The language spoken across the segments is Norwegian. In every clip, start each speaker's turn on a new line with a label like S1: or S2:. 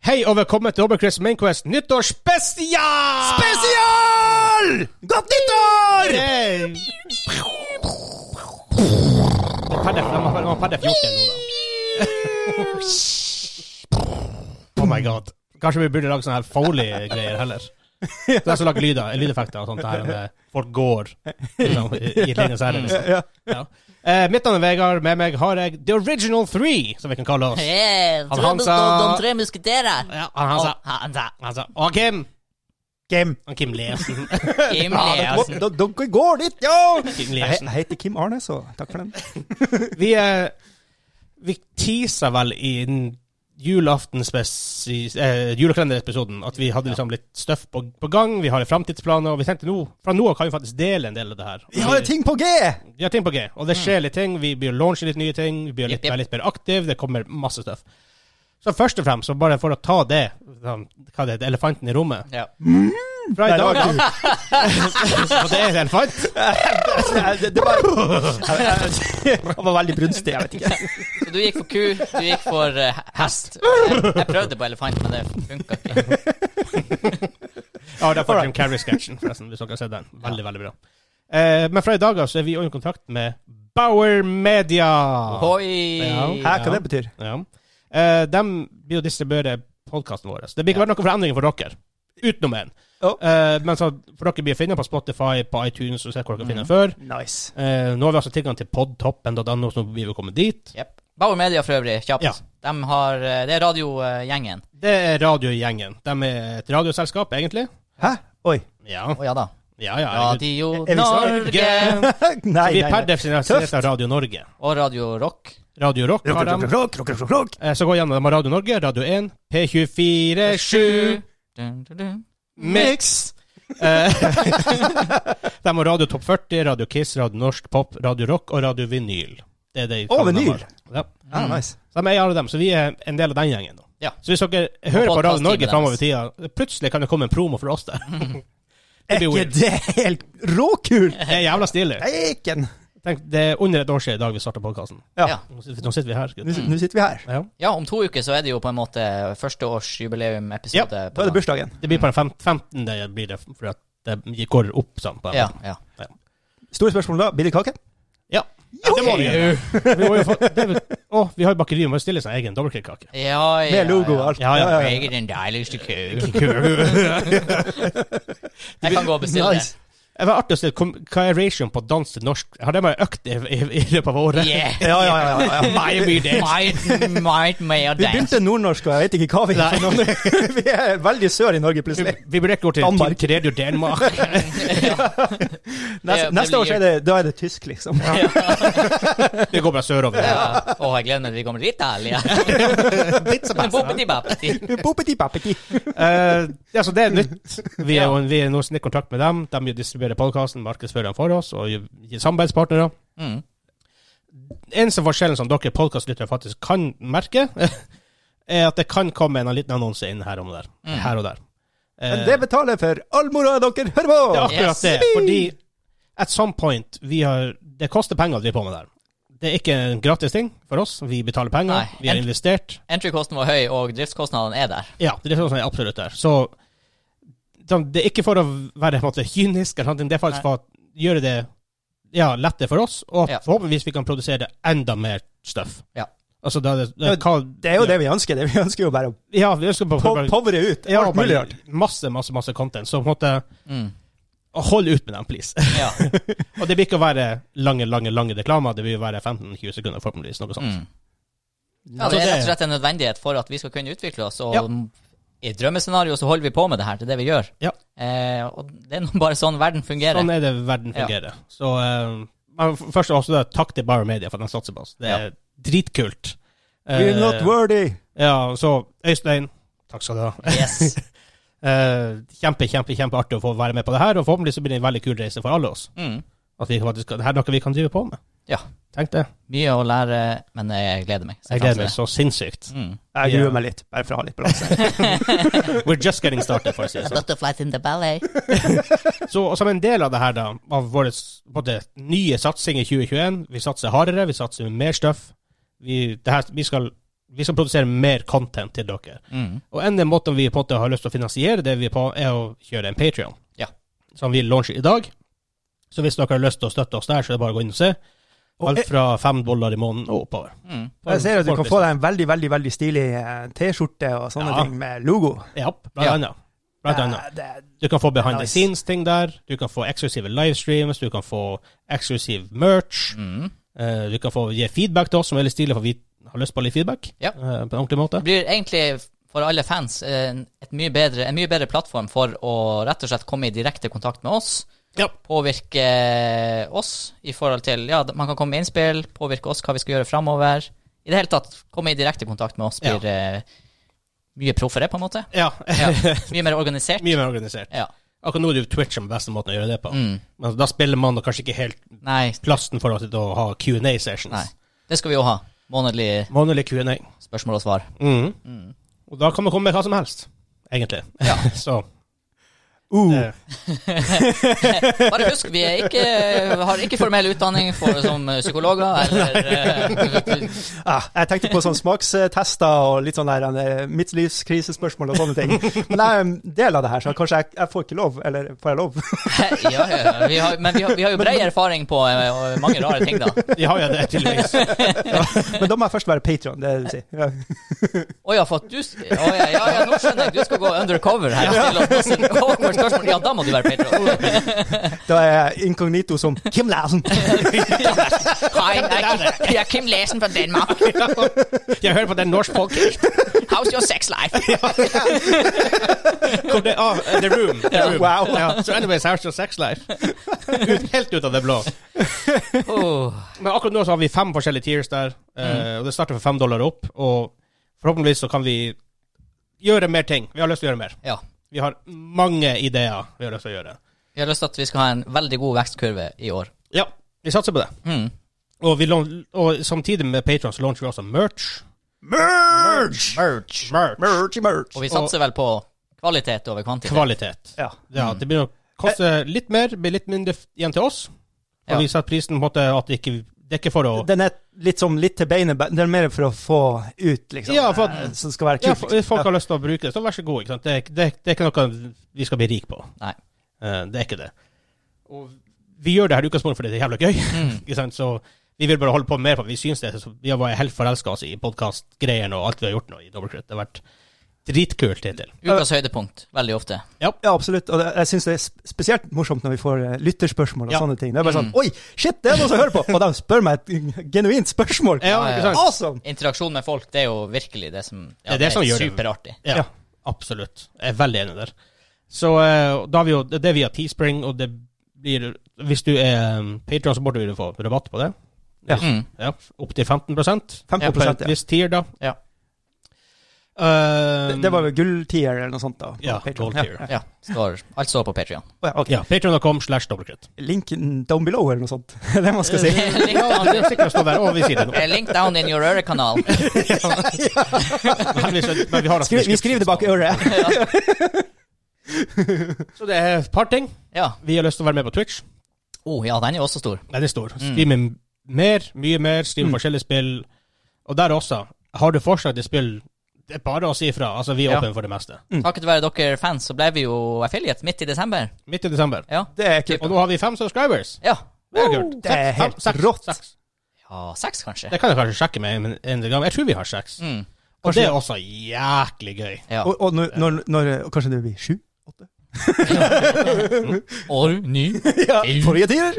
S1: Hei og velkommen til Overcrest Mainquest nyttårsspesial!
S2: Spesial! Godt nyttår!
S1: Hey! Padde, de har- de har padde 14 nå, da. Oh my god. Kanskje vi burde lage sånne her Foley-greier heller. Det er så lage lyder, lydeffekter og sånt der enn det folk går liksom, i i et lignende serie. Liksom.
S2: Ja.
S1: Ja. Eh, mitt navn er Vegard, med meg har jeg The Original Three, som vi kan kalle oss.
S3: Hey,
S1: Han
S3: tre
S1: Hansa-
S3: muske- De tre musketerer.
S1: Ja, han, han, sa,
S3: Og Hansa.
S1: han sa Altså, Og Kim!
S2: Kim.
S1: Han Kim Lesen.
S3: Kim
S2: Hva-
S3: Leasen.
S2: da- Dere går dit, ja!
S1: Kim
S2: Jeg he-
S1: Lesen.
S2: jeg heter Kim Arne, så takk for den.
S1: Vi, eh, vi teaser vel i en julaftenspesi- eh, julekalenderepisoden at vi hadde liksom litt støff på, på gang. Vi har framtidsplaner, og vi tenkte nå fra nå av kan vi faktisk dele en del av det her.
S2: Vi har ting på G!
S1: Vi har ting på G, og det skjer litt ting. Vi begynner å launche litt nye ting. Vi blir litt,
S3: Jepp, jepp.
S1: være litt mer aktive. Det kommer masse støff. Så først og fremst, så bare for å ta det, sånn, hva det heter, elefanten i rommet
S3: Ja.
S1: Fra i
S2: Nei, det var
S1: dag av Og det er en elefant.
S2: Det, det var Han var veldig brunstig, jeg vet ikke.
S3: Så du gikk for ku, du gikk for eh, hest. Jeg, jeg prøvde på elefant, men det funka ikke.
S1: Ja, det er faktisk en Carrie-sketsjen, forresten, hvis dere har sett den. Veldig, veldig bra. Eh, men fra i dag av så er vi i kontakt med Bauer Media.
S3: Hoi!
S2: Hæ, hva det betyr?
S1: Ja. Eh, de vil jo distribuere podkasten vår. Det blir ikke vært noen forandringer for dere, utenom én.
S2: Ja.
S1: Eh, men så for dere blir å finne på Spotify, på iTunes og se hvor dere finner den før.
S2: Nice.
S1: Eh, nå har vi altså tilgang til podtoppen.no, så nå vil vi komme dit.
S3: Jepp. Bauer Media for øvrig, kjapt.
S1: Ja.
S3: De har, eh, det er radiogjengen.
S1: Det er radiogjengen. De er et radioselskap, egentlig.
S2: Hæ? Oi.
S1: Ja,
S3: Å ja da.
S1: ja, ja.
S3: Radio
S2: Er vi så-
S3: Norge
S2: Nei,
S1: vi er
S2: nei,
S1: per
S2: nei.
S1: definisjon heter Radio Norge.
S3: og Radio Rock.
S1: Radio Rock
S2: Rock,
S1: har de.
S2: rock, rock, rock, rock, rock, rock.
S1: Eh, Så gå gjennom dem av Radio Norge, Radio 1,
S2: Eh,
S1: P247
S3: Dun, dun, dun.
S1: Mix. Eh, de har Radio Topp 40, Radio Kiss, Radio Norsk Pop, Radio Rock og Radio Vinyl. Det er de
S2: Å,
S1: kanalene de
S2: vinyl.
S1: har. Ja.
S2: Ja, Ah, nice.
S1: Så de er alle dem, så vi er en del av den gjengen. Da.
S3: Ja.
S1: Så hvis dere hører på Radio
S3: podcast-teamet
S1: Norge
S3: deres.
S1: framover i tida, plutselig kan det komme en promo for oss der.
S2: Er
S1: blir
S2: ikke
S1: weird.
S2: det helt råkult?
S1: Det er jævla stilig.
S2: Eiken!
S1: Tenk, det er under et år siden i dag vi starta podkasten.
S2: Ja.
S3: Ja.
S1: Nå sit- nå sitter vi her.
S2: Nå
S1: Gutt.
S2: s- nå sitter vi her.
S1: Ja.
S3: Ja, om to uker så er det jo på en måte
S1: Ja,
S3: førsteårsjubileumepisode.
S2: Da er det bursdagen.
S1: Det blir på den fem- 15. blir det, fordi at det går opp sånn. på-
S3: Ja, ja.
S2: Store spørsmål da. Blir det kake?
S1: Ja. ja, det må vi gjøre. Vi, må jo få, det, er vel- å, vi har jo bakeriet, vi må jo stille seg egen dobbeltkrikkake.
S3: Ja, ja,
S2: Med logo og
S3: ja.
S2: alt.
S1: Ja, ja.
S3: Jeg er den deiligste kuk. Jeg kan gå og bestille
S2: Nice.
S1: Det var artig å se kom- hva er ratioen på dans til norsk. Har det bare økt i, i, i løpet av
S3: det.
S1: året?
S3: Yeah.
S2: Ja, ja, ja, ja, ja.
S1: Mye, mye det.
S3: Might, might may I
S2: Vi
S3: dance.
S2: begynte nordnorsk, og jeg vet ikke hva vi er. for noen. Vi er veldig sør i Norge,
S1: Vi,
S2: plutselig.
S1: vi burde ikke gå til, til,
S2: Danmark.
S1: til Radio Danmark.
S2: Neste,
S3: det
S2: neste år
S3: blir-
S2: så er det, da er det tysk, liksom.
S1: Det går bare sørover.
S3: Ja. Åh, jeg gleder meg til vi kommer til Italia. Men boppeti-bappeti.
S2: Popeti, papeti.
S1: Eh, ja, så det er nytt. Vi er, jo, vi er nå i kontakt med dem. De distribuerer podkasten, markedsfører den for oss og gir- gir samarbeidspartnere.
S3: Mm.
S1: Eneste forskjellen som dere podkastlyttere faktisk kan merke, er at det kan komme en liten annonse inn her og der.
S3: Mm.
S1: Her og der. Eh.
S2: Men det betaler for all moroa dere hører på!
S1: Det er akkurat
S3: Yes.
S1: det. Fordi at some point vi har, Det koster penger å drive på med det her. Det er ikke en gratis ting for oss. Vi betaler penger.
S3: Nei.
S1: Vi har
S3: En-
S1: investert.
S3: Entry-kosten var høy, og driftskostnadene er der.
S1: Ja, det er sånn som er absolutt der. Så sånn, det er ikke for å være på en måte, kynisk, eller sånne ting. det er faktisk for å gjøre det ja, lettere for oss, og
S3: Ja.
S1: forhåpentligvis vi kan produsere enda mer stuff.
S3: Ja.
S1: Altså, det, det, det, hva,
S2: Det er jo det vi ønsker. Det vi ønsker jo bare å
S1: Ja, vi ønsker
S2: po
S1: bare,
S2: powere ut
S1: ja,
S2: alt mulig
S1: bare
S2: rart.
S1: masse, masse masse content. Så på en måte,
S3: Mm.
S1: hold ut med dem, please.
S3: Ja. Mm.
S1: Og det blir ikke å være lange, lange lange reklamer. Det vil være 15-20 sekunder, forhåpentligvis. Noe sånt.
S3: Mm.
S1: Sånn.
S3: ja,
S1: Så
S3: det er
S1: det-
S3: rett og slett en nødvendighet for at vi skal kunne utvikle oss. Og
S1: Ja.
S3: i drømmescenario så holder vi på med det her, det er det vi gjør.
S1: Ja.
S3: Eh, og det er nå bare sånn verden fungerer.
S1: Sånn er det verden
S3: Ja.
S1: fungerer. Så eh, men f- først og fremst da, takk til Bauer Media for at de satser på oss. Det er dritkult.
S2: We're
S1: Eh,
S2: not worthy.
S1: ja, så Øystein, takk skal du ha.
S3: Yes.
S1: Eh, kjempe, kjempe, kjempeartig å få være med på det her, og forhåpentlig så blir det en veldig kul reise for alle oss.
S3: Mm.
S1: At vi faktisk, det her er noe vi kan drive på med.
S3: Ja.
S1: Tenk det.
S3: Mye å lære, men jeg gleder meg. Så
S1: Jeg gleder meg så sinnssykt.
S3: Mm.
S2: Jeg
S1: Ja.
S2: gruer meg litt, bare for å ha litt balanse.
S1: We're just getting started, for å si det sånn.
S3: Butterflies in the ballet.
S1: Så og som en del av det her, da, av vår både nye satsing i 2021 Vi satser hardere, vi satser med mer stuff. Vi, det her, vi skal vi skal produsere mer content til dere.
S3: Mm.
S1: Og en av måtene vi på en måte har lyst til å finansiere det vi er på, er å kjøre en Patreon.
S3: Ja.
S1: Som vi launcher i dag. Så hvis dere har lyst til å støtte oss der, så er det bare å gå inn og se. Alt fra fem dollar i måneden og oppover.
S3: Mm.
S2: Jeg ser at du kan få deg en veldig veldig, veldig stilig eh, T-skjorte og sånne
S1: liksom. Ja.
S2: ting med logo.
S1: Ja, blant
S3: Ja.
S1: annet. Blant annet.
S2: Det, det,
S1: Du kan få behind the
S2: Nice.
S1: scenes-ting der. Du kan få eksklusive livestreams. Du kan få eksklusiv merch.
S3: Mm.
S1: Eh, du kan få gi feedback til oss, som er veldig stilig, for vi har lyst på litt feedback.
S3: Ja.
S1: eh, på en ordentlig måte.
S3: Det blir egentlig for alle fans en, et mye bedre, en mye bedre plattform for å rett og slett komme i direkte kontakt med oss.
S1: Ja.
S3: Påvirke oss i forhold til Ja, man kan komme med innspill, påvirke oss hva vi skal gjøre framover. I det hele tatt, komme i direkte kontakt med oss
S1: Ja.
S3: blir eh, mye proffere, på en måte.
S1: Ja.
S3: Ja, mye mer organisert.
S1: Mye mer organisert.
S3: Ja.
S1: Akkurat nå er det jo Twitch som er beste måten å gjøre det på.
S3: Mm.
S1: Men da spiller man da kanskje ikke helt
S3: Nei,
S1: plassen for å sitte og ha
S3: nei.
S1: Q&A-sessions.
S3: Det skal vi jo ha. Månedlig
S1: Månedlig Q&A.
S3: spørsmål og svar.
S1: Mhm.
S3: Mm.
S1: Og da kan man komme med hva som helst, egentlig.
S3: Ja.
S1: Så
S2: uh,
S1: eh,
S3: Bare husk, vi er ikke, har ikke formell utdanning for, som psykologer eller eh,
S2: ah, jeg tenkte på sånn smakstester og litt sånn der eh, midtlivskrisespørsmål og sånne ting. Men jeg er en del av det her, så kanskje jeg, jeg får ikke lov. Eller får jeg lov?
S3: ja, ja, ja. Vi har, men vi har, vi har jo bred erfaring på eh, mange rare ting, da.
S1: vi har jo det, tydeligvis.
S2: Men da må jeg først være patron, det er det du sier. Ja.
S3: Å ja, for at du s- Å ja, ja, ja, nå skjønner jeg. Du skal gå undercover her og stille oss masse awkward spørsmål. Ja, da må du være patron.
S2: Da er jeg inkognito som Kim Larsen.
S3: Hei, jeg er Kim- jeg er Kim Lesen fra Danmark.
S1: Jeg hører på den norsk podcast
S3: How's your sex life?
S1: Hvor det ah, The Room. The room.
S2: Wow.
S1: Ja. Så anyways, how's your sex life? Ut, helt ut av det blå.
S3: Oh,
S1: Men akkurat nå så har vi fem forskjellige tiers der, eh, og det starter for fem dollar opp. Og forhåpentligvis så kan vi gjøre mer ting. Vi har lyst til å gjøre mer.
S3: ja.
S1: Vi har mange ideer vi har lyst til å gjøre.
S3: Vi har lyst til at vi skal ha en veldig god vekstkurve i år.
S1: Ja, vi satser på det.
S3: Mm.
S1: Og, vi, lån- og samtidig med Patreon så launcher vi også merch.
S2: Merge!
S3: Merge.
S1: Merch.
S2: Merge, merge.
S3: Og vi satser vel på kvalitet over kvantitet.
S1: Kvalitet.
S2: Ja.
S1: Ja, det blir å koste litt mer, blir litt mindre f- igjen til oss. Og
S3: Ja.
S1: vi setter prisen på en måte at det ikke, det er ikke for å
S2: Den er litt som litt til beinet, men den er mer for å få ut, liksom.
S1: Ja, for-
S2: eh, Som skal være
S1: ja,
S2: kult.
S1: for- Hvis folk har lyst til å bruke det, så vær så god. Ikke sant? Det, er ikke- det, er- det er ikke noe vi skal bli rik på.
S3: Nei.
S1: Eh, Det er ikke det. Og vi gjør det her i utgangspunktet fordi det er jævla gøy.
S3: Mm.
S1: Ikke sant? Så vi vil bare holde på mer, for vi syns det. Så vi har vært helt forelska oss i podkastgreiene og alt vi har gjort nå i Dobbeltkrutt. Det har vært dritkult hittil.
S3: Ukas høydepunkt, veldig ofte.
S2: Ja, absolutt. Og det, jeg syns det er sp- spesielt morsomt når vi får eh, lytterspørsmål og
S1: Ja.
S2: sånne ting. Det er bare sånn
S3: Mm.
S2: Oi, shit, det er noen som hører på! Og de spør meg et genuint spørsmål.
S1: Ja, ikke sant?
S2: Awesome!
S3: Interaksjon med folk, det er jo virkelig det som
S1: Det er det som gjør det.
S3: superartig.
S1: Ja,
S2: Ja.
S1: absolutt. Jeg er veldig enig der. Så eh, da har vi jo Det er via Teespring, og det blir Hvis du er Patreon så burde du få rabatt på det.
S2: Ja.
S3: Mm.
S1: Ja, Opptil 15 på
S2: 15
S1: et
S2: ja.
S1: visst tier, da.
S3: Ja.
S1: Eh,
S2: Det, det var vel gulltier eller noe sånt, da. på
S1: Ja,
S2: Patreon.
S1: gold tier.
S2: Ja.
S3: Ja. Står, alt står på Patrion.
S2: Å ja, ok.
S1: Ja, patreon.com slash dobbeltkritt.
S2: Linken down below, eller noe sånt. det er det man skal si.
S1: Ja, det er sikkert å stå der, og vi sier det nå.
S3: Link down in your øre-kanal.
S1: Men vi, men vi, har
S2: Skri, vi skriver det bak øret.
S1: Så det er et par ting.
S3: Ja.
S1: Vi har lyst til å være med på Twitch.
S3: Oh, ja, den er jo også stor.
S1: Nei, det er
S2: Mm.
S1: stor. Streame mer, mye mer, streame forskjellige spill. Og der også, har du forslag til spill, det er bare å si ifra. Altså, vi er
S3: Ja.
S1: åpne for det meste.
S3: Takket være dere fans så ble vi jo affiliate midt i desember.
S1: Midt i desember.
S3: Ja.
S2: Det er kult.
S1: Og nå har vi fem subscribers.
S3: Ja,
S1: Det er kult.
S2: Det er
S1: Seks,
S2: helt
S1: fem, seks,
S2: rått.
S1: seks.
S3: ja seks, kanskje.
S1: Det kan jeg kanskje sjekke med en, en gang. Jeg tror vi har seks.
S3: Mm.
S1: Og det er også jæklig gøy.
S3: Ja.
S2: Og, og når, når, når og Kanskje det blir sju?
S3: År ny.
S2: Ja, forrige tider?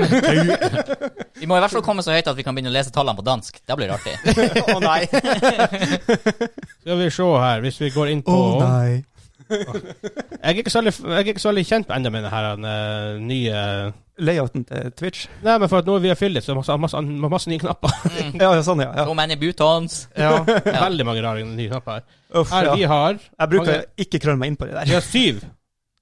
S3: Vi må i hvert fall komme så høyt at vi kan begynne å lese tallene på dansk. Det blir artig.
S2: Å nei.
S1: Skal vi se her, hvis vi går inn på
S2: nei.
S1: Jeg er ikke så veldig, jeg er ikke så veldig kjent ennå med denne eh, nye
S2: Layouten til Twitch.
S1: Nei, men for at nå er vi affiliate, så masse, masse, masse nye knapper.
S3: Mm.
S2: Ja, ja, sånn, ja. ja.
S3: So many buttons.
S1: Ja, Veldig mange rare nye knapper. her.
S2: Uff,
S1: Her
S2: ja.
S1: vi har
S2: Jeg bruker
S1: mange-
S2: ikke krølle meg inn på det
S1: Vi
S2: der.
S1: har syv.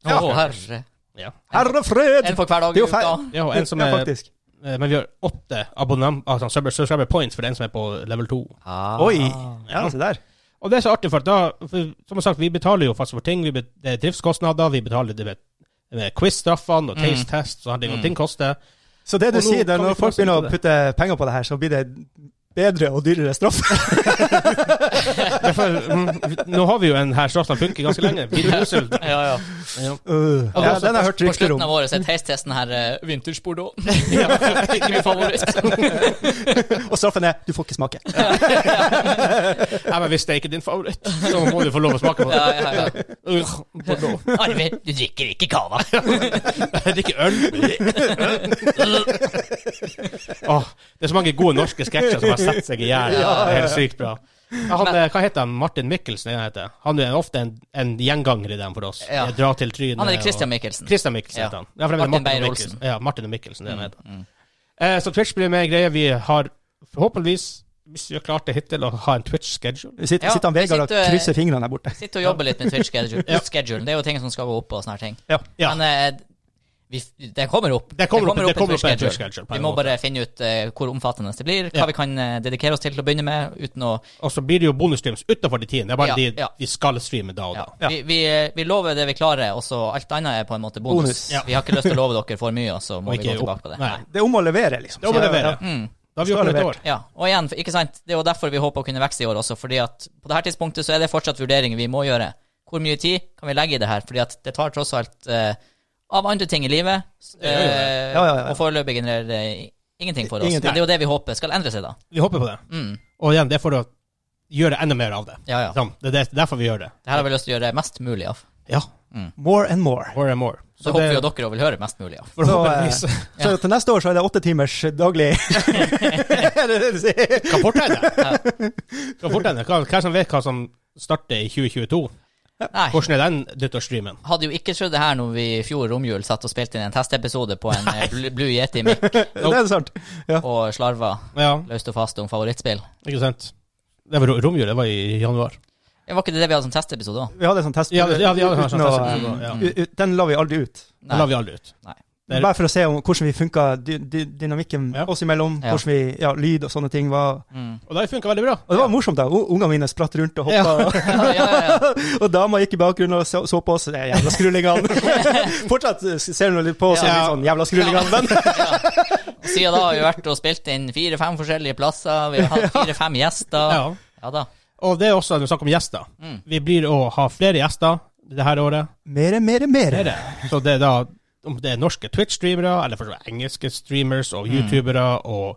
S3: Å, herre.
S1: Ja.
S2: Herre fred!
S3: En for hver dag
S2: Det
S3: i
S2: er jo
S3: uka.
S2: feil.
S1: ja, og en som
S2: ja,
S1: er
S2: faktisk.
S1: eh, Men vi har åtte abonnement, altså subscriber- subscriber points for den som er på level 2.
S3: Ah.
S2: Oi. Ja,
S1: Ja.
S2: se der.
S1: Og det er så artig, for at da for, Som sagt, vi betaler jo faktisk for ting. Vi bet- det er driftskostnader, vi betaler det med, med quiz-straffene og
S3: Mm.
S1: taste tests og sånne ting. Og ting koster.
S2: Så det du
S1: Og nå
S2: sier, det er
S1: kan vi
S2: når folk
S1: fortsette
S2: begynner å
S1: det.
S2: putte penger på det her, så blir det bedre og dyrere straff.
S1: Derfor, mm, nå har vi jo en her straff som funker ganske lenge. Blir du uselt?
S3: Ja, ja.
S1: Ja.
S2: Øh, ja, den har jeg hørt
S3: På
S2: rykter
S3: slutten
S2: om.
S3: av året så er testtesten her uh, vinterspordo. Ikke min favoritt.
S2: Og straffen er du får ikke smake.
S1: Ja, men hvis det er ikke er din favoritt, så må du få lov å smake på det.
S3: Ja, ja, ja.
S1: Urgh, Bordeaux.
S3: Arve, du drikker ikke cava.
S1: Jeg drikker øl. Åh, det er så mange gode norske sketsjer som har satt seg i gjerdet. Det er Helt sykt bra. Ja, Han, eh, hva heter han? Martin Mikkelsen? er Han, heter. han er ofte en, en gjenganger i dem for oss.
S3: Ja.
S1: Jeg Drar til trynet.
S3: Han er
S1: og-
S3: Christian Michelsen.
S1: Christian Mikkelsen
S3: Ja.
S1: heter han. Ja, for det er
S3: Martin
S1: og
S3: Beyer
S1: Mikkelsen.
S3: Olsen.
S1: Ja, Martin og Mikkelsen, det er han heter.
S3: Mm.
S1: Eh, så Twitch blir mer greie. Vi har forhåpentligvis, hvis vi har klart det hittil, å ha en Twitch-schedule.
S2: Sitter,
S3: Ja,
S2: sitter han
S3: vi
S2: Vegard og
S3: sitter, eh,
S2: krysser fingrene der borte.
S3: Sitter og jobber litt med Twitch-schedulen.
S1: Ja.
S3: Schedule. Det er jo ting som skal gå opp og sånne her ting.
S2: Ja.
S1: Ja.
S3: Men eh, vi, f- det kommer opp.
S1: Det kommer opp- det kommer opp en
S3: Twitch-schedule.
S1: Twitch-schedule, på en
S3: Vi må
S1: måte.
S3: bare finne ut eh, hvor omfattende det blir, hva
S1: Ja.
S3: vi kan eh, dedikere oss til til å begynne med, uten å
S1: Og så blir det jo bonusstreams utenfor de tiende. Det er bare
S3: eh, Ja,
S1: de
S3: ja.
S1: vi skal streame da og da.
S3: ja. vi, vi, eh, vi lover det vi klarer, og så alt annet er på en måte bonus.
S2: Bonus.
S1: Ja.
S3: Vi har ikke lyst til å love dere for mye, og så må
S1: Og
S3: vi
S1: ikke
S3: gå tilbake
S1: opp.
S3: på det.
S1: Nei.
S2: Det er om å levere, liksom.
S1: Det er om å
S2: Så, ja,
S1: levere.
S3: Mm.
S1: Da har vi
S2: Skal
S1: gjort det et
S2: levere.
S1: år.
S3: Ja, og igjen, for- ikke sant, det er jo derfor vi håper å kunne vokse i år også, fordi at på det her tidspunktet så er det fortsatt vurderinger vi må gjøre. Hvor mye tid kan vi legge i det her? Fordi at det tar tross alt eh, av andre ting i livet, eh,
S1: gjør jo
S2: Ja, ja, ja.
S3: og foreløpig genererer det i- ingenting for oss.
S2: Ingenting.
S3: Men det er jo det vi håper skal endre seg, da.
S1: Vi håper på det.
S3: Mm.
S1: Og igjen, det er for å gjøre enda mer av det.
S3: Ja, ja.
S1: Sånn, Det er det- derfor vi gjør det.
S3: Det her har vi lyst til å gjøre mest mulig av.
S1: Ja.
S2: More and more.
S1: More and more.
S3: Så håper vi jo dere også vil høre mest mulig av.
S1: Forhåpentligvis.
S2: Så til neste år så er det åtte timers daglig Er det det du sier?
S1: Kan fort hende. Kan fort hende. Hva- Hvem som vet hva som starter i 2022?
S3: Nei.
S1: Hvordan er den nyttårsstreamen?
S3: Hadde jo ikke trodd det her når vi i fjor romjul satt og spilte inn en testepisode på en eh, Blue- Blue Yeti-mikk
S2: Det er sant. Ja.
S3: og slarva
S1: Ja,
S3: løst og fast om favorittspill.
S1: ikke sant? Det var ro- romjul, det var i januar.
S3: Det var ikke det vi hadde som testepisode òg?
S2: Vi hadde en sånn test.
S1: Ja, det- ja, de hadde en sånn
S2: uten å-
S1: testepisode, ja.
S2: u- u- Den la vi aldri ut.
S1: Den la vi aldri ut. Det er-
S2: Bare for å se om, hvordan vi funka, dy, dy, dynamikken
S1: Ja.
S2: oss imellom,
S3: Ja.
S2: hvordan vi, ja, lyd og sånne ting var
S3: Mm.
S1: Og det funka veldig bra.
S2: Og det var morsomt, da. U- Ungene mine spratt rundt og
S1: Ja.
S2: hoppa,
S3: Ja, ja, ja.
S2: og dama gikk i bakgrunnen og så, så på oss. Det er jævla skrullingene. Fortsatt eh, ser hun litt på oss og
S1: Ja.
S2: litt sånn jævla skrullingene. Men
S3: Ja. Siden da har vi vært og spilt inn fire-fem forskjellige plasser. Vi har hatt fire-fem gjester. Ja.
S1: Ja.
S3: da.
S1: Og det er også når vi snakker om gjester.
S3: Mm.
S1: Vi blir å ha flere gjester det her året.
S2: mere,
S1: Det
S2: mere,
S1: er
S2: mere.
S1: det. Så det er da om det er norske Twitch-streamere, eller for så vidt engelske streamers og youtubere og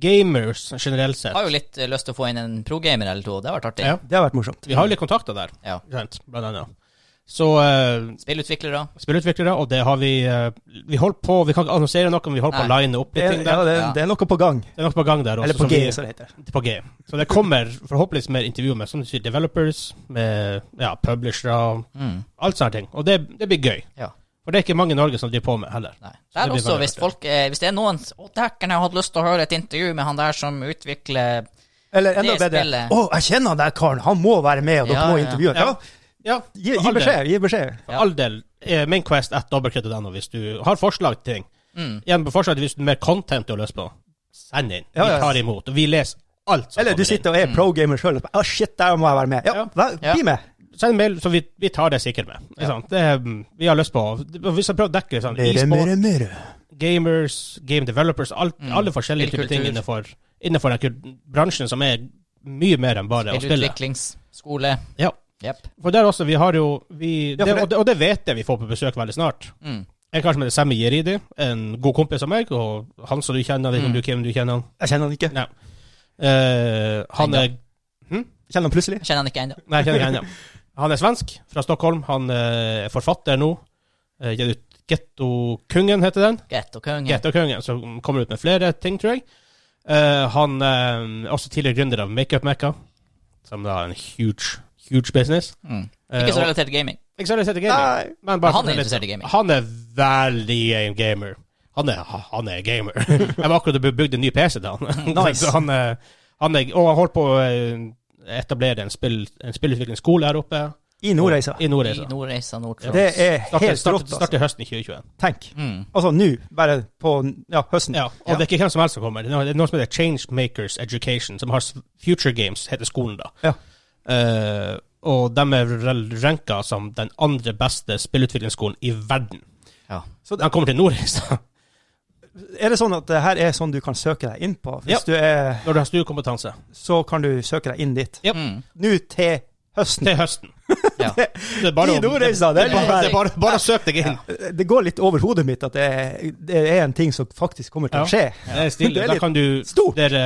S1: gamers generelt sett.
S3: Har jo litt eh, lyst til å få inn en progamer eller to. Det har vært artig.
S1: Ja.
S2: Det har vært morsomt.
S1: Vi har jo litt kontakter der,
S3: Ja.
S1: ikke sant? blant annet. Så eh,
S3: Spillutviklere.
S1: spillutviklere, og det har vi eh, Vi holdt på, vi kan ikke annonsere noe, men vi holdt på å
S3: Nei.
S1: line opp
S2: Det
S1: litt
S2: er,
S1: ting
S2: ja,
S1: der.
S2: det,
S3: Ja.
S2: det er noe på gang.
S1: Det er noe på gang der også.
S2: Eller på
S1: som
S2: G,
S1: vi-
S2: som det heter.
S1: på G. Så det kommer forhåpentligvis mer intervju med som du sier, developers, med ja, publishere,
S3: Mm.
S1: alt sånne ting. Og det, det blir gøy.
S3: Ja.
S1: For det er ikke mange i Norge som driver på med heller.
S3: Nei.
S1: det
S3: Der
S1: blir
S3: også,
S1: veldig
S3: hvis
S1: artig.
S3: folk eh, Hvis det er noen Å, dækken, jeg hadde lyst til å høre et intervju med han der som utvikler
S2: Eller enda
S3: Det
S2: bedre Å,
S3: spillet.
S2: jeg kjenner han der karen, han må være med, og dere
S3: Ja,
S2: må
S3: ja, ja.
S2: intervjue ham.
S1: Ja.
S2: Ja.
S1: Ja, for
S2: Gi, gi
S1: all del.
S2: beskjed, gi beskjed.
S1: For all del. eh, Mainquest at dobbeltkritt.no hvis du har forslag til ting.
S3: mm.
S1: Igjen på forslag hvis du har mer content du har lyst på. Send inn.
S2: Ja, ja.
S1: Vi tar imot. Og vi leser alt som
S2: Eller du
S1: kommer inn.
S2: sitter og er
S3: Mm.
S2: pro-gamer sjøl og bare Å, shit, der må jeg være med. Ja,
S1: Ja.
S2: vær-
S3: Ja.
S2: bli med.
S1: Send mail, så vi, vi tar det sikkert med. Ikke
S3: Ja.
S1: sant? Det, mm, vi har lyst på Vi skal prøve å dekke sånn,
S2: Mere,
S1: e-sport,
S2: mere, mere.
S1: gamers, game developers, alt,
S3: Mm.
S1: alle forskjellige typer
S3: Spillkultur.
S1: ting innenfor, innenfor den kul- bransjen som er mye mer enn bare å spille.
S3: spillutviklingsskole.
S1: Ja.
S3: Jepp.
S1: For der også, vi har jo vi,
S2: Ja,
S1: det,
S2: for det-
S1: og, det, og det vet jeg vi får på besøk veldig snart.
S3: Mm.
S1: En kar som heter Sammy Jeridi, en god kompis av meg, og han som du kjenner, vet ikke
S3: Mm.
S1: om du hvem du kjenner han.
S2: Jeg kjenner han ikke.
S1: Eh, han er
S2: Kjenner han plutselig.
S3: Jeg Kjenner han ikke ennå.
S1: Nei, jeg kjenner ikke henne. Han er svensk, fra Stockholm. Han eh, er forfatter nå. Eh, Gitt ut Gettokungen, heter den.
S3: Gett og konge.
S1: Gettokungen, som kommer ut med flere ting, tror jeg. Eh, han eh, er også tidligere gründer av Makeup Mecca, som da er en huge, huge business.
S3: Mm.
S1: Eh,
S3: Ikke så
S1: og-
S3: relatert til gaming.
S1: ikke så relatert til gaming.
S2: Nei.
S1: Men
S3: Men han
S1: for
S3: er
S1: å fortelle
S3: interessert
S1: litt-
S3: i gaming.
S1: Han er veldig en gamer. Han er, han er gamer. Jeg var akkurat og bygde en ny PC til han.
S2: Nice.
S1: Så han, er- han er, og han holdt på å eh, etablere en, spill, en spillutviklingsskole her oppe.
S2: I Nordreisa.
S1: I
S3: I
S1: Nordreisa.
S3: Nordreisa, Nord-Troms.
S2: Det er
S1: Starter,
S2: helt
S1: starter,
S2: rått, altså.
S1: starter høsten i 2021.
S2: Tenk.
S3: Mm.
S2: Altså nå, bare på ja, høsten.
S1: Ja, og det er ikke hvem som helst som kommer. Det er noe som heter Changemakers Education, som har s- Future Games, heter skolen da.
S2: Ja.
S1: Eh, og de er vel ranka som den andre beste spillutviklingsskolen i verden.
S3: Ja.
S1: Så de kommer til Nordreisa.
S2: Er det sånn at det her er sånn du kan søke deg inn på? Hvis du er,
S1: Når du har stor kompetanse.
S2: så kan du søke deg inn dit.
S1: Yep.
S3: Mm.
S2: Nå til høsten.
S1: Til høsten.
S3: Ja.
S1: Det er bare, å-
S2: Din
S1: det
S2: ordreis, da. Det,
S1: er
S2: er
S1: bare, det
S2: litt-
S1: er bare, bare søk deg inn.
S2: det går litt over hodet mitt at det er, det er en ting som faktisk kommer til å skje.
S1: Det er stille.
S2: Det er
S1: Da
S2: litt
S1: kan du
S2: stort.
S1: studere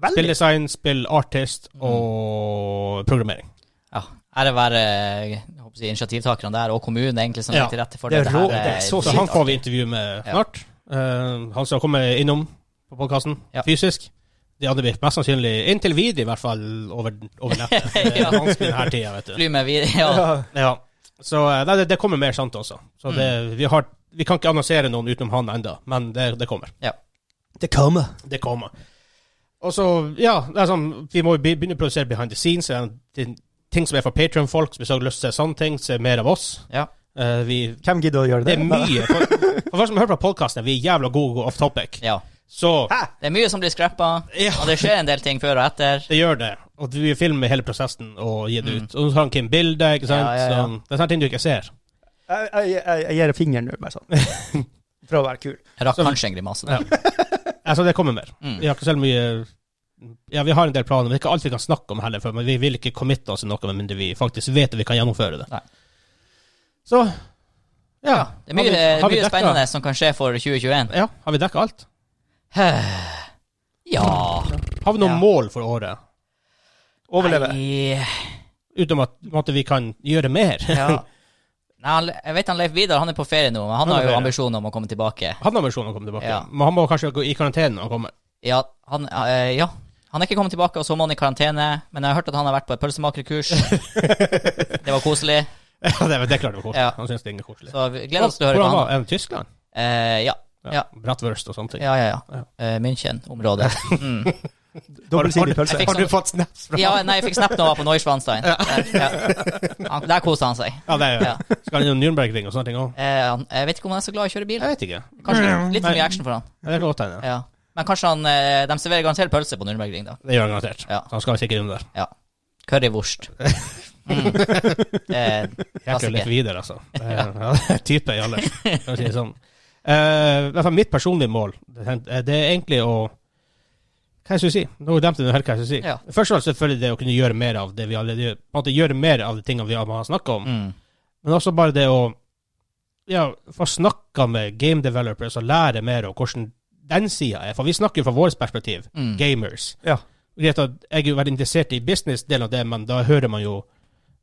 S2: Veldig.
S1: spilldesign, spill artist
S2: Mm.
S1: og programmering.
S3: Ja. Ære være eh, jeg håper å si, initiativtakerne der, og kommunen egentlig som
S1: Ja.
S3: legger til rette for
S2: Det
S3: det.
S2: er
S3: her eh,
S2: rå- det er
S1: Så altså.
S2: Shit,
S1: han får vi
S3: artig.
S1: intervju med
S3: Ja.
S1: snart. Eh, han skal komme innom på podkasten
S3: Ja.
S1: fysisk. De andre blir mest sannsynlig, inntil videre i hvert fall, over, over nettet. Det er
S3: Ja.
S1: vanskelig denne tida, vet du.
S3: Fly med videre. Ja.
S2: Ja.
S1: Ja. Så eh, nei, det, det kommer mer sant også. Så det,
S3: Mm.
S1: vi, har, vi kan ikke annonsere noen utenom han enda men det, det kommer.
S2: Det kommer.
S1: Det kommer. Og så, ja, det er sånn, vi må jo be- begynne å produsere behind the scenes. eh, til Ting som er for Patreon-folk som hvis dere har lyst til å se sånne ting, se mer av oss.
S3: Ja.
S1: Eh, vi,
S2: Hvem gidder å gjøre
S1: det
S2: det?
S1: er mye. For, for folk som hører på podkasten, vi er jævla gode å gå off topic.
S3: ja.
S1: Så
S2: Hæ?
S3: Det er mye som blir scrappa,
S1: Ja.
S3: og det skjer en del ting før og etter.
S1: det gjør det. Og vi filmer hele prosessen og gir det
S3: Mm.
S1: ut. Og så har han Kim bilde, ikke sant.
S3: Ja, ja, ja.
S1: Sånn, det er sånne ting du ikke ser.
S2: Jeg, jeg, jeg, jeg gir deg fingeren nå, bare sånn. For å være kul.
S3: Jeg rakk
S1: Så-
S3: kanskje en grimase. der.
S1: Altså, det kommer mer.
S3: Mm.
S1: Vi har ikke så mye Ja, vi har en del planer, men det er ikke alt vi kan snakke om heller. For, men vi vil ikke committe oss til noe med mindre vi faktisk vet at vi kan gjennomføre det.
S3: Nei.
S1: Så ja.
S3: Det er mye,
S1: Har
S3: eh,
S1: vi- har vi
S3: mye
S1: dekket-
S3: spennende som kan skje for 2021.
S1: Ja, har vi dekka alt?
S3: Ja
S1: Har vi noen
S3: Ja.
S1: mål for året?
S2: Overleve.
S3: Nei.
S1: Utenom at på en måte, vi kan gjøre mer.
S3: Ja. Nei, han- jeg vet han Leif Vidar han er på ferie nå, men han
S1: Han er
S3: har
S1: på
S3: jo
S1: ferie.
S3: ambisjoner om å komme tilbake.
S1: Han har ambisjoner om å komme tilbake,
S3: Ja.
S1: men han må kanskje gå i karantene når han kommer.
S3: Ja, han, eh, ja. han er ikke kommet tilbake, og så må han i karantene. Men jeg har hørt at han har vært på et pølsemakerkurs. det var koselig.
S1: Ja, det, er- det er klart det var koselig.
S3: Ja.
S1: Han synes det er koselig.
S3: Så vi gleder oss til å høre hva
S1: Hvordan
S3: han
S1: var det? Tyskland?
S3: Eh, ja. Ja.
S1: Bratwurst og sånne ting.
S3: Ja, ja, ja.
S1: Ja.
S3: Eh, München-området. Mm.
S2: Dobbeltsidig
S1: har,
S2: pølse.
S1: har du fått snaps fra
S3: Ja, nei, jeg fikk snap nå av på Neuschwanstein. Eh, ja. Han- Der koste han seg.
S1: Ja, det er jo
S3: Ja.
S1: Skal han innom Nürnbergring og sånne ting òg?
S3: Eh, han, jeg vet ikke om han er så glad i å kjøre bil.
S1: Jeg vet ikke. Ja,
S3: Kanskje litt
S1: Mm,
S3: for
S1: Nei.
S3: mye action for han.
S1: Det kan godt hende.
S3: Ja. Men kanskje han eh, De serverer garantert pølse på Nürnbergring, da.
S1: Det gjør han garantert.
S3: Ja.
S1: Så han skal sikkert innom der.
S3: Ja. Currywurst. Mm. Eh,
S1: Jeg er litt
S3: klassiker.
S1: videre, altså. Det er- Ja, det er type i alle, for å si det sånn. Eh, i hvert fall mitt personlige mål, det er eh, det er egentlig å Hva skal jeg skulle si? Nå glemte jeg helt hva jeg skulle si.
S3: Ja.
S1: Først og fremst selvfølgelig det å kunne gjøre mer av det vi allerede gjør. På en måte gjøre mer av de tingene vi har snakka om.
S3: Mm.
S1: Men også bare det å ja, få snakka med game developers og lære mer om hvordan den sida er. For vi snakker jo fra vårt perspektiv,
S3: Mm.
S1: gamers.
S2: Ja.
S1: Greit at jeg er jo veldig interessert i business-delen av det, men da hører man jo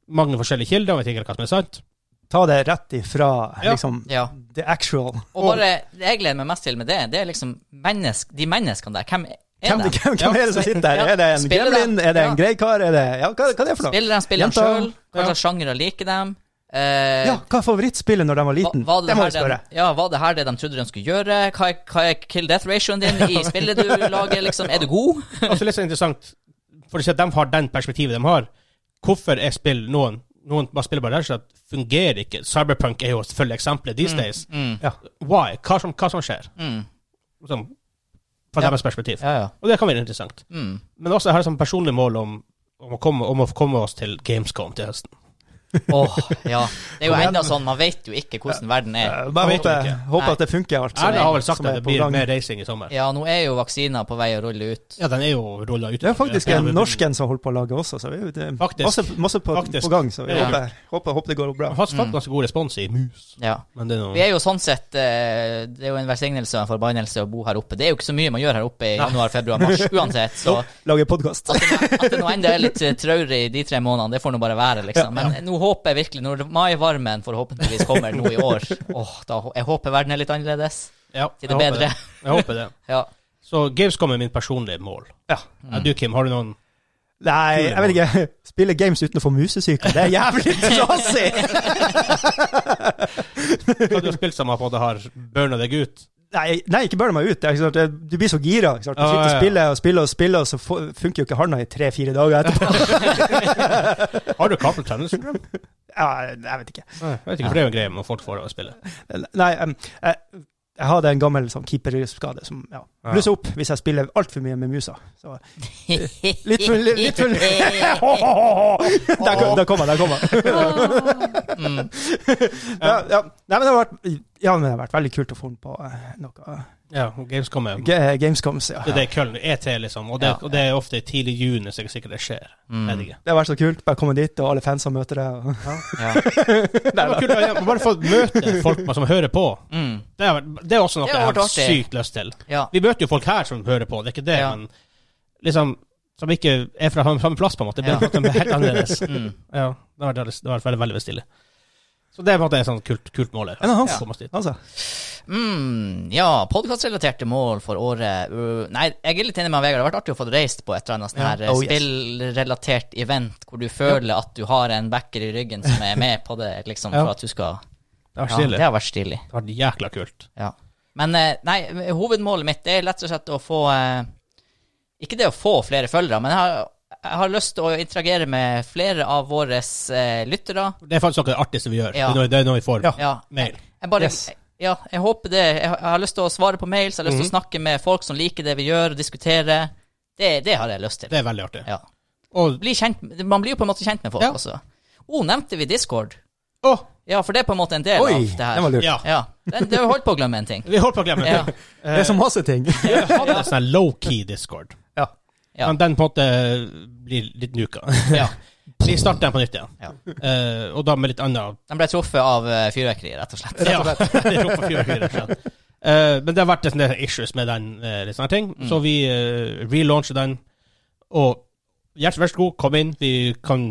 S1: mange forskjellige kilder, og jeg vet ikke helt hva som er sant.
S2: Ta det rett ifra
S1: Ja.
S2: liksom
S3: Ja.
S2: the actual.
S3: Og bare det jeg gleder meg mest til med det, det er liksom mennesk, de menneskene der. Hvem er
S2: Hvem,
S3: de?
S2: hvem, hvem
S1: Ja.
S2: er det som sitter der?
S3: Ja.
S2: Er det en
S3: Spiller det?
S2: gremlin? Er det
S3: Ja.
S2: en grei kar? Er det, ja, hva, hva er det for noe?
S3: Spiller de spillene
S2: Jenta.
S3: sjøl? Hva
S1: Ja.
S3: slags sjangere liker dem? Eh,
S2: Ja, hva er favorittspillet når de var
S3: hva-
S2: liten?
S3: var det,
S2: Det må
S3: her
S2: vi spørre.
S3: De, ja, var det her det de trodde de skulle gjøre? Hva er, hva er kill death ratioen din i spillet du lager? liksom? Er du god?
S1: Også litt Altså, så interessant, for å si at de har den perspektivet de har. Hvorfor er spill noen noen bare spiller bare rett og slett fungerer ikke. Cyberpunk er jo selvfølgelig eksempelet these days.
S3: Mm.
S1: Why? Hva som, hva som skjer?
S3: Mm.
S1: Sånn, fra
S3: Ja.
S1: deres perspektiv.
S3: Ja, ja.
S1: Og det kan være interessant.
S3: Mm.
S1: Men også har jeg som personlig mål om, om, å komme, om å komme oss til Gamescom til høsten.
S3: Åh, ja. Det er jo enda sånn, man vet jo ikke hvordan verden er.
S2: Eh,
S1: Nei,
S2: Bare
S1: det
S2: håper,
S1: vet
S2: håper
S3: Nei.
S2: at det funker, alt som
S1: Erna har
S2: er,
S1: vel sagt
S2: som
S1: at
S2: er
S1: det
S2: på
S1: blir
S2: gang.
S1: mer racing i sommer. Ja,
S3: Ja, nå er jo vaksiner på vei å rulle ut.
S1: den er jo rulla ut.
S2: Det er faktisk
S1: Ja,
S2: en
S1: men-
S2: norsken som holder på å lage også, så vi, det er
S1: Faktisk.
S2: masse, masse på,
S1: Faktisk.
S2: på gang. Så vi
S1: Ja.
S2: håper, håper, håper det går bra.
S1: Jeg har fått ganske god respons i mus.
S3: Ja.
S1: Men det Mm. er noe
S3: Vi er jo sånn sett eh, Det er jo en velsignelse og en forbannelse å bo her oppe. Det er jo ikke så mye man gjør her oppe i januar, februar, mars uansett. Så
S2: Lage podkast.
S3: at det nå enda er litt eh, traurig i de tre månedene, det får nå bare være, liksom. Men nå håper jeg virkelig, når maivarmen forhåpentligvis kommer nå i år Åh, da hå- Jeg håper verden er litt annerledes.
S1: ja, jeg
S3: Til det
S1: håper
S3: bedre.
S1: Jeg håper det.
S3: Ja.
S1: Så Gamescom er min personlige mål.
S2: Ja.
S1: Ja, du, Kim, har du noen
S2: Nei, jeg vet ikke. Spille games uten å få musesyke, det er jævlig trasig!
S1: Hva du har spilt som har på en måte har burna deg ut?
S2: Nei, nei, ikke burn meg ut. Det er ikke sant? det- Du blir så gira. Ikke sant? Du
S1: Ja, ja,
S2: sitter
S1: ja.
S2: og spiller og spiller, og spiller, og så få- funker jo ikke handa i tre-fire dager etterpå.
S1: Har du carpal tunnel syndrome?
S2: Ja, jeg vet ikke.
S1: Nei, Jeg vet ikke, for det er jo en greie når folk får det å spille.
S2: Nei, em, jeg, jeg hadde en gammel sånn keeperskade som ja,
S1: Ja.
S2: blusser opp hvis jeg spiller altfor mye med musa. Så,
S3: Mm.
S2: litt for litt for Der kom- der kom han, der kom han.
S3: Mm.
S2: Ja, ja. Nei, men det har vært Ja, men det har vært veldig kult å få den på eh, noe
S1: Ja, og Gamescom er
S2: G Gamescoms, ja.
S1: Det er det Køln er til, liksom. Og det,
S3: Ja.
S1: og det er ofte i tidlig juni, så jeg er sikker det skjer.
S3: Mm.
S1: Vet ikke.
S2: Det har vært så kult. Bare komme dit, og alle fansa møter deg. og-
S3: Ja.
S1: Det var kult å ja, bare få møte folk man- som hører på.
S3: Mm.
S1: Det er, det er også noe
S3: Det
S1: jeg
S3: har vært
S1: har
S3: artig.
S1: sykt lyst til.
S3: ja.
S1: Vi møter jo folk her som hører på, det er ikke det,
S3: Ja.
S1: men liksom Som ikke er fra samme plass, på en måte. Det
S3: Ja.
S1: blir ja. helt annerledes.
S3: Mm.
S1: Ja, det har vært, det har vært veldig, veldig stille. Så det er på en måte et sånt kult, kult mål. her.
S2: Ja, men Hans.
S1: Å komme oss dit.
S2: Altså,
S3: Mm, ja, podkastrelaterte mål for året uh, Nei, jeg er litt enig med Vegard. Det har vært artig å få reist på et eller annet sånn
S2: Ja.
S3: her eh,
S2: Oh, yes.
S3: spillrelatert event hvor du føler at du har en backer i ryggen som er med på det, liksom,
S1: Ja.
S3: for at du skal
S1: Det har vært
S3: ja,
S1: stille.
S3: Det har vært stilig.
S1: Det har vært jækla kult.
S3: Ja. Men eh, nei, hovedmålet mitt det er lett og slett å få eh, Ikke det å få flere følgere, men jeg har, jeg har lyst til å interagere med flere av våre eh, lyttere.
S1: Det er faktisk noe av det artigste vi gjør.
S3: Ja.
S1: Det, er noe, det er noe vi får
S3: Ja.
S1: mail.
S3: Jeg bare,
S2: Yes.
S3: ja, jeg håper det. Jeg har, jeg har lyst til å svare på mails, jeg har lyst til å snakke med folk som liker det vi gjør, og diskutere. Det, det har jeg lyst til.
S1: Det er veldig artig.
S3: Ja.
S1: Og
S3: Bli kjent, man blir jo på en måte kjent med folk
S1: Ja.
S3: også. oh, nevnte vi Discord?
S1: Å!
S3: Ja, for det er på en måte en del
S2: oi,
S3: av det her.
S2: den var lurt.
S1: Ja.
S3: Ja, den, det har vi holdt på å glemme en ting.
S1: Vi holdt på å glemme
S3: Ja.
S1: det.
S2: Det er så masse ting.
S1: Jeg hadde en sånn low-key discord,
S2: ja.
S3: Ja.
S1: men den på en måte blir litt nuka.
S3: Ja.
S1: Vi starter den på nytt igjen,
S3: Ja.
S1: Eh, og da med litt annet
S3: Den ble truffet av eh, fyrverkeri, rett og slett.
S1: Ja, det er på fyrverkeri, rett og slett. Eh, men det har vært en del issues med den, eh, litt sånne ting.
S3: Mm.
S1: så vi eh, relauncher den. Og hjertelig vær så god, kom inn. Vi kan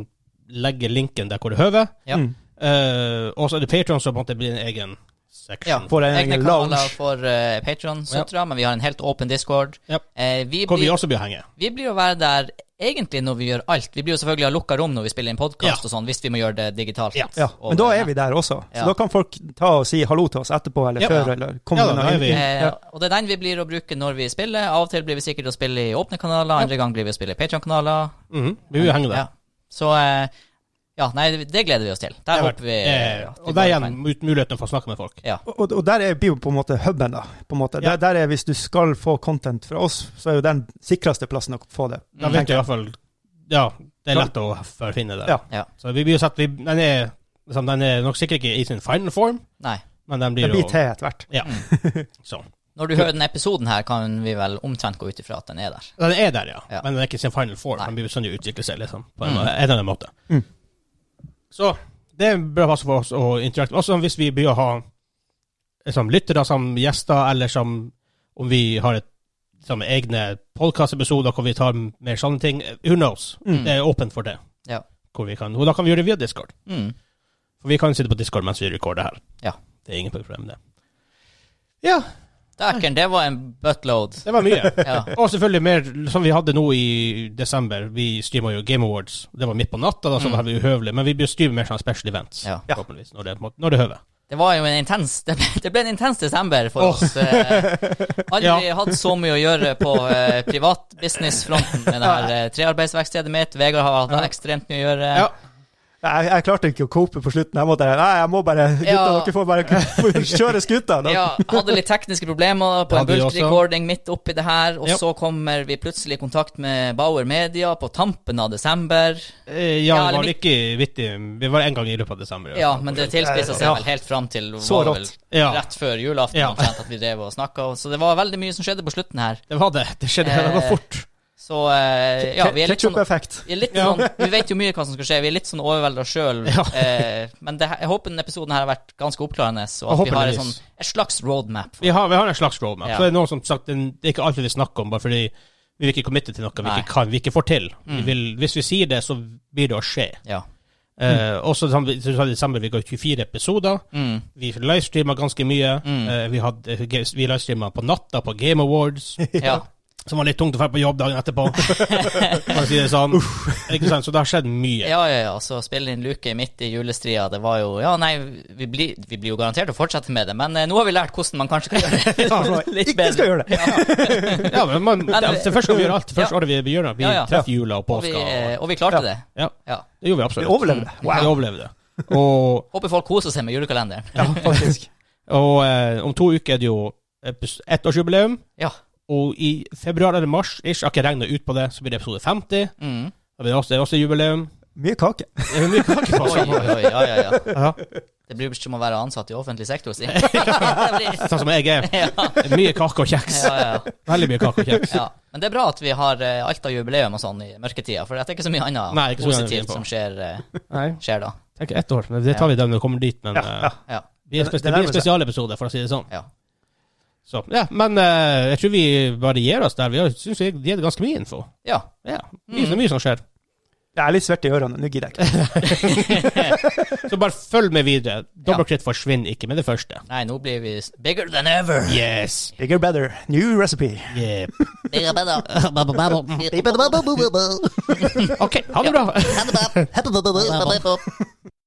S1: legge linken der hvor det høver.
S3: Ja.
S2: Mm.
S1: Eh, og så er det Patreon som på en måte blir en egen
S3: Ja,
S1: section.
S2: Får en
S3: Egne
S2: egen
S3: kanaler
S2: lounge.
S3: for uh, Patron-søttere, men vi har en helt åpen Discord.
S1: Ja.
S3: Eh, vi,
S1: Hvor vi
S3: blir,
S1: også blir å henge.
S3: vi blir å være der egentlig når vi gjør alt. Vi blir jo selvfølgelig ha lukka rom når vi spiller inn podkast
S1: Ja.
S3: og sånn, hvis vi må gjøre det digitalt.
S1: Ja.
S2: Ja,
S3: Og-
S2: men da er vi der også. Så
S3: Ja.
S2: da kan folk ta og si hallo til oss etterpå eller
S1: Ja.
S2: før. eller komme
S1: Ja, da,
S2: inn og
S1: da er vi-
S2: inn.
S3: Eh,
S2: Ja.
S3: og det er den vi blir å bruke når vi spiller. Av og til blir vi sikkert å spille i åpne kanaler, andre gang blir vi å spille i Patron-kanaler.
S1: Mhm, Vi vil jo henge der.
S3: Ja. Så eh, ja, nei, det- det gleder vi oss til. Der
S1: Det har vært-
S3: håper vi
S1: eh,
S3: at vi
S1: og der
S3: går
S1: igjen
S3: på en-
S1: mut- muligheten for å snakke med folk.
S3: Ja.
S2: Og, og der er blir jo på en måte huben, da. på en måte.
S1: Ja.
S2: Der, der er Hvis du skal få content fra oss, så er jo den sikreste plassen å få det.
S3: Mm.
S1: Da vet du i hvert fall Ja, det er lett å forfinne det.
S2: Ja.
S3: Ja.
S1: Så vi blir jo satt vi, den, er, liksom, den er nok sikkert ikke i sin final form,
S3: Nei.
S1: men den
S2: Det
S1: blir
S2: blir
S1: jo
S2: te etter hvert.
S1: ja. Sånn.
S3: Når du hører den episoden her, kan vi vel omtrent gå ut ifra at den er der.
S1: Den er der, ja.
S3: Ja.
S1: Men den er ikke i sin final form.
S3: Nei.
S1: Den blir jo sånn å utvikle seg, liksom, på
S3: Mm.
S1: en, en eller annen måte.
S2: Mm.
S1: Så det er en bra pass for oss å interagere. Også hvis vi blir å ha liksom, lyttere som gjester, eller som om vi har et liksom, egne podkastepisoder hvor vi tar mer sånne ting. Who knows?
S2: Mm.
S1: Det er åpent for det.
S3: Ja.
S1: Hvor vi kan, og da kan vi gjøre det via Discord.
S3: Mm.
S1: For vi kan sitte på Discord mens vi recorder her.
S3: Ja.
S1: Det er ingen problem med det. Ja,
S3: Dæken, det var en buttload.
S1: det var mye.
S3: Ja.
S1: og selvfølgelig mer som vi hadde nå i desember. Vi streama jo Game Awards. Det var midt på natta, da, så
S3: Mm.
S1: det var vi uhøvelig. Men vi blir streame mer sånn special events,
S3: Ja.
S2: Ja.
S1: forhåpentligvis, når det, når det høver.
S3: Det var jo en intens Det ble, det ble en intens desember for
S1: Åh.
S3: oss. Eh, aldri hatt så mye å gjøre på eh, privatbusinessfronten med det her eh, trearbeidsverkstedet mitt. Vegard har hatt ekstremt mye å gjøre.
S1: Ja.
S2: Jeg, jeg klarte ikke å cope på slutten. Jeg måtte, nei, jeg må bare, gutta,
S3: Ja.
S2: dere får bare kjøre skuta. Da.
S3: Ja, hadde litt tekniske problemer på en
S1: Hadde vi også.
S3: bulk-recording midt oppi det her, og
S1: Ja.
S3: så kommer vi plutselig i kontakt med Bauer Media på tampen av desember.
S1: Eh, ja,
S3: Ja,
S1: det var
S3: eller-
S1: ikke vittig. Vi var en gang i løpet av desember. i
S3: Ja,
S1: hvert fall.
S3: men det tilspissa seg
S2: Ja.
S3: vel helt fram til
S2: Så
S3: var det
S2: rått.
S3: vel
S1: Ja.
S3: rett før julaften
S1: Ja.
S3: omtrent at vi drev og snakka, så det var veldig mye som skjedde på slutten her.
S1: Det var det. Det skjedde. Det
S3: Eh,
S1: var fort.
S3: Så eh, ja, vi er litt sånn
S2: Ketchup-effekt.
S3: Vi, er litt
S1: Ja.
S3: sånn, vi vet jo mye hva som skal skje, vi er litt sånn overvelda sjøl.
S1: Ja.
S3: Eh, men det, her- jeg håper denne episoden her har vært ganske oppklarende, og at
S1: Jeg
S3: vi har en, sånn,
S1: håper
S3: et slags roadmap.
S1: Vi har, vi har en slags roadmap.
S3: Ja.
S1: Så det er noen som sagt, den- det er ikke alt vi vil snakke om, bare fordi vi vil ikke committe til noe vi
S3: Nei. Mm.
S1: ikke kan, vi ikke får til. Vi vil, hvis vi sier det, så blir det å skje.
S3: Ja.
S1: Eh, også det samme- så sa vi det samme, vi ga ut 24 episoder.
S3: Mm.
S1: Vi livestreama ganske mye. Eh, vi hadde, vi livestreama på natta på Game Awards,
S3: ja.
S1: som var litt tungt å dra på jobb dagen etterpå. For å si det sånn. Ikke sant? Så det har skjedd mye.
S3: Ja, ja, ja. Så spille inn luke midt i julestria, det var jo Ja, nei, vi blir, vi blir jo garantert å fortsette med det, men eh, nå har vi lært hvordan man kanskje kan gjøre det litt
S2: Ikke skal gjøre
S3: bedre.
S2: det.
S1: Ja, men man, det,
S3: Men-
S1: det første vi gjør alt. Det første
S3: Ja.
S1: året vi, vi gjør det, vi
S3: Ja, ja.
S1: treffer jula og
S3: Og vi,
S1: påska.
S3: eh,
S1: Og,
S3: og vi klarte det.
S1: ja,
S3: Ja.
S1: det gjorde vi
S2: Vi
S1: absolutt.
S2: overlevde.
S1: Vi
S2: Wow,
S1: overlevde. Og
S3: Håper folk koser seg med julekalenderen.
S2: ja, faktisk.
S1: Og eh, om to uker er det jo epis- ettårsjubileum.
S3: Ja.
S1: Og i februar eller mars, ish, jeg har ikke regna ut på det, så blir det episode 50.
S3: Mm.
S1: Da blir det også, det er også jubileum.
S2: Mye kake.
S1: Det er mye kake på
S3: Oi,
S1: oss.
S3: oi, oi, ja, ja, ja.
S1: Ja.
S3: Det Det blir jo som å være ansatt i offentlig sektor, si. Det blir-
S1: Sånn som jeg er.
S3: ja,
S1: Mye kake og kjeks.
S3: ja, ja.
S1: Veldig mye kake og kjeks.
S3: ja. Men det er bra at vi har eh, alt av jubileum og sånn i mørketida, for det er ikke så mye annet
S1: Nei, ikke så mye annet vi er på.
S3: positivt som skjer, eh,
S1: Nei,
S3: skjer da.
S1: tenker ett år, men det tar vi da når vi kommer dit. Men
S2: Ja, ja.
S1: eh,
S3: Ja.
S1: vi er
S2: Det-
S1: spes-
S2: det
S1: det blir
S2: nærmer
S1: en
S2: seg.
S1: spesialepisode, for å si det sånn.
S3: Ja.
S1: Så, ja, men eh, jeg tror vi bare gir oss der. Vi har- synes vi har gitt ganske mye info.
S3: ja.
S1: Ja, mye,
S3: Mm.
S1: mye som skjer.
S2: Jeg er litt svett i ørene, nå gidder jeg ikke.
S1: Så bare følg med videre.
S3: Ja.
S1: Double crit forsvinner ikke med det første.
S3: Nei, nå blir vi s- bigger than ever.
S1: Yes.
S2: Bigger better, new recipe.
S1: Yep.
S3: Bigger better.
S4: Bye-bye.
S1: OK, ha det bra.
S4: Bye-bye.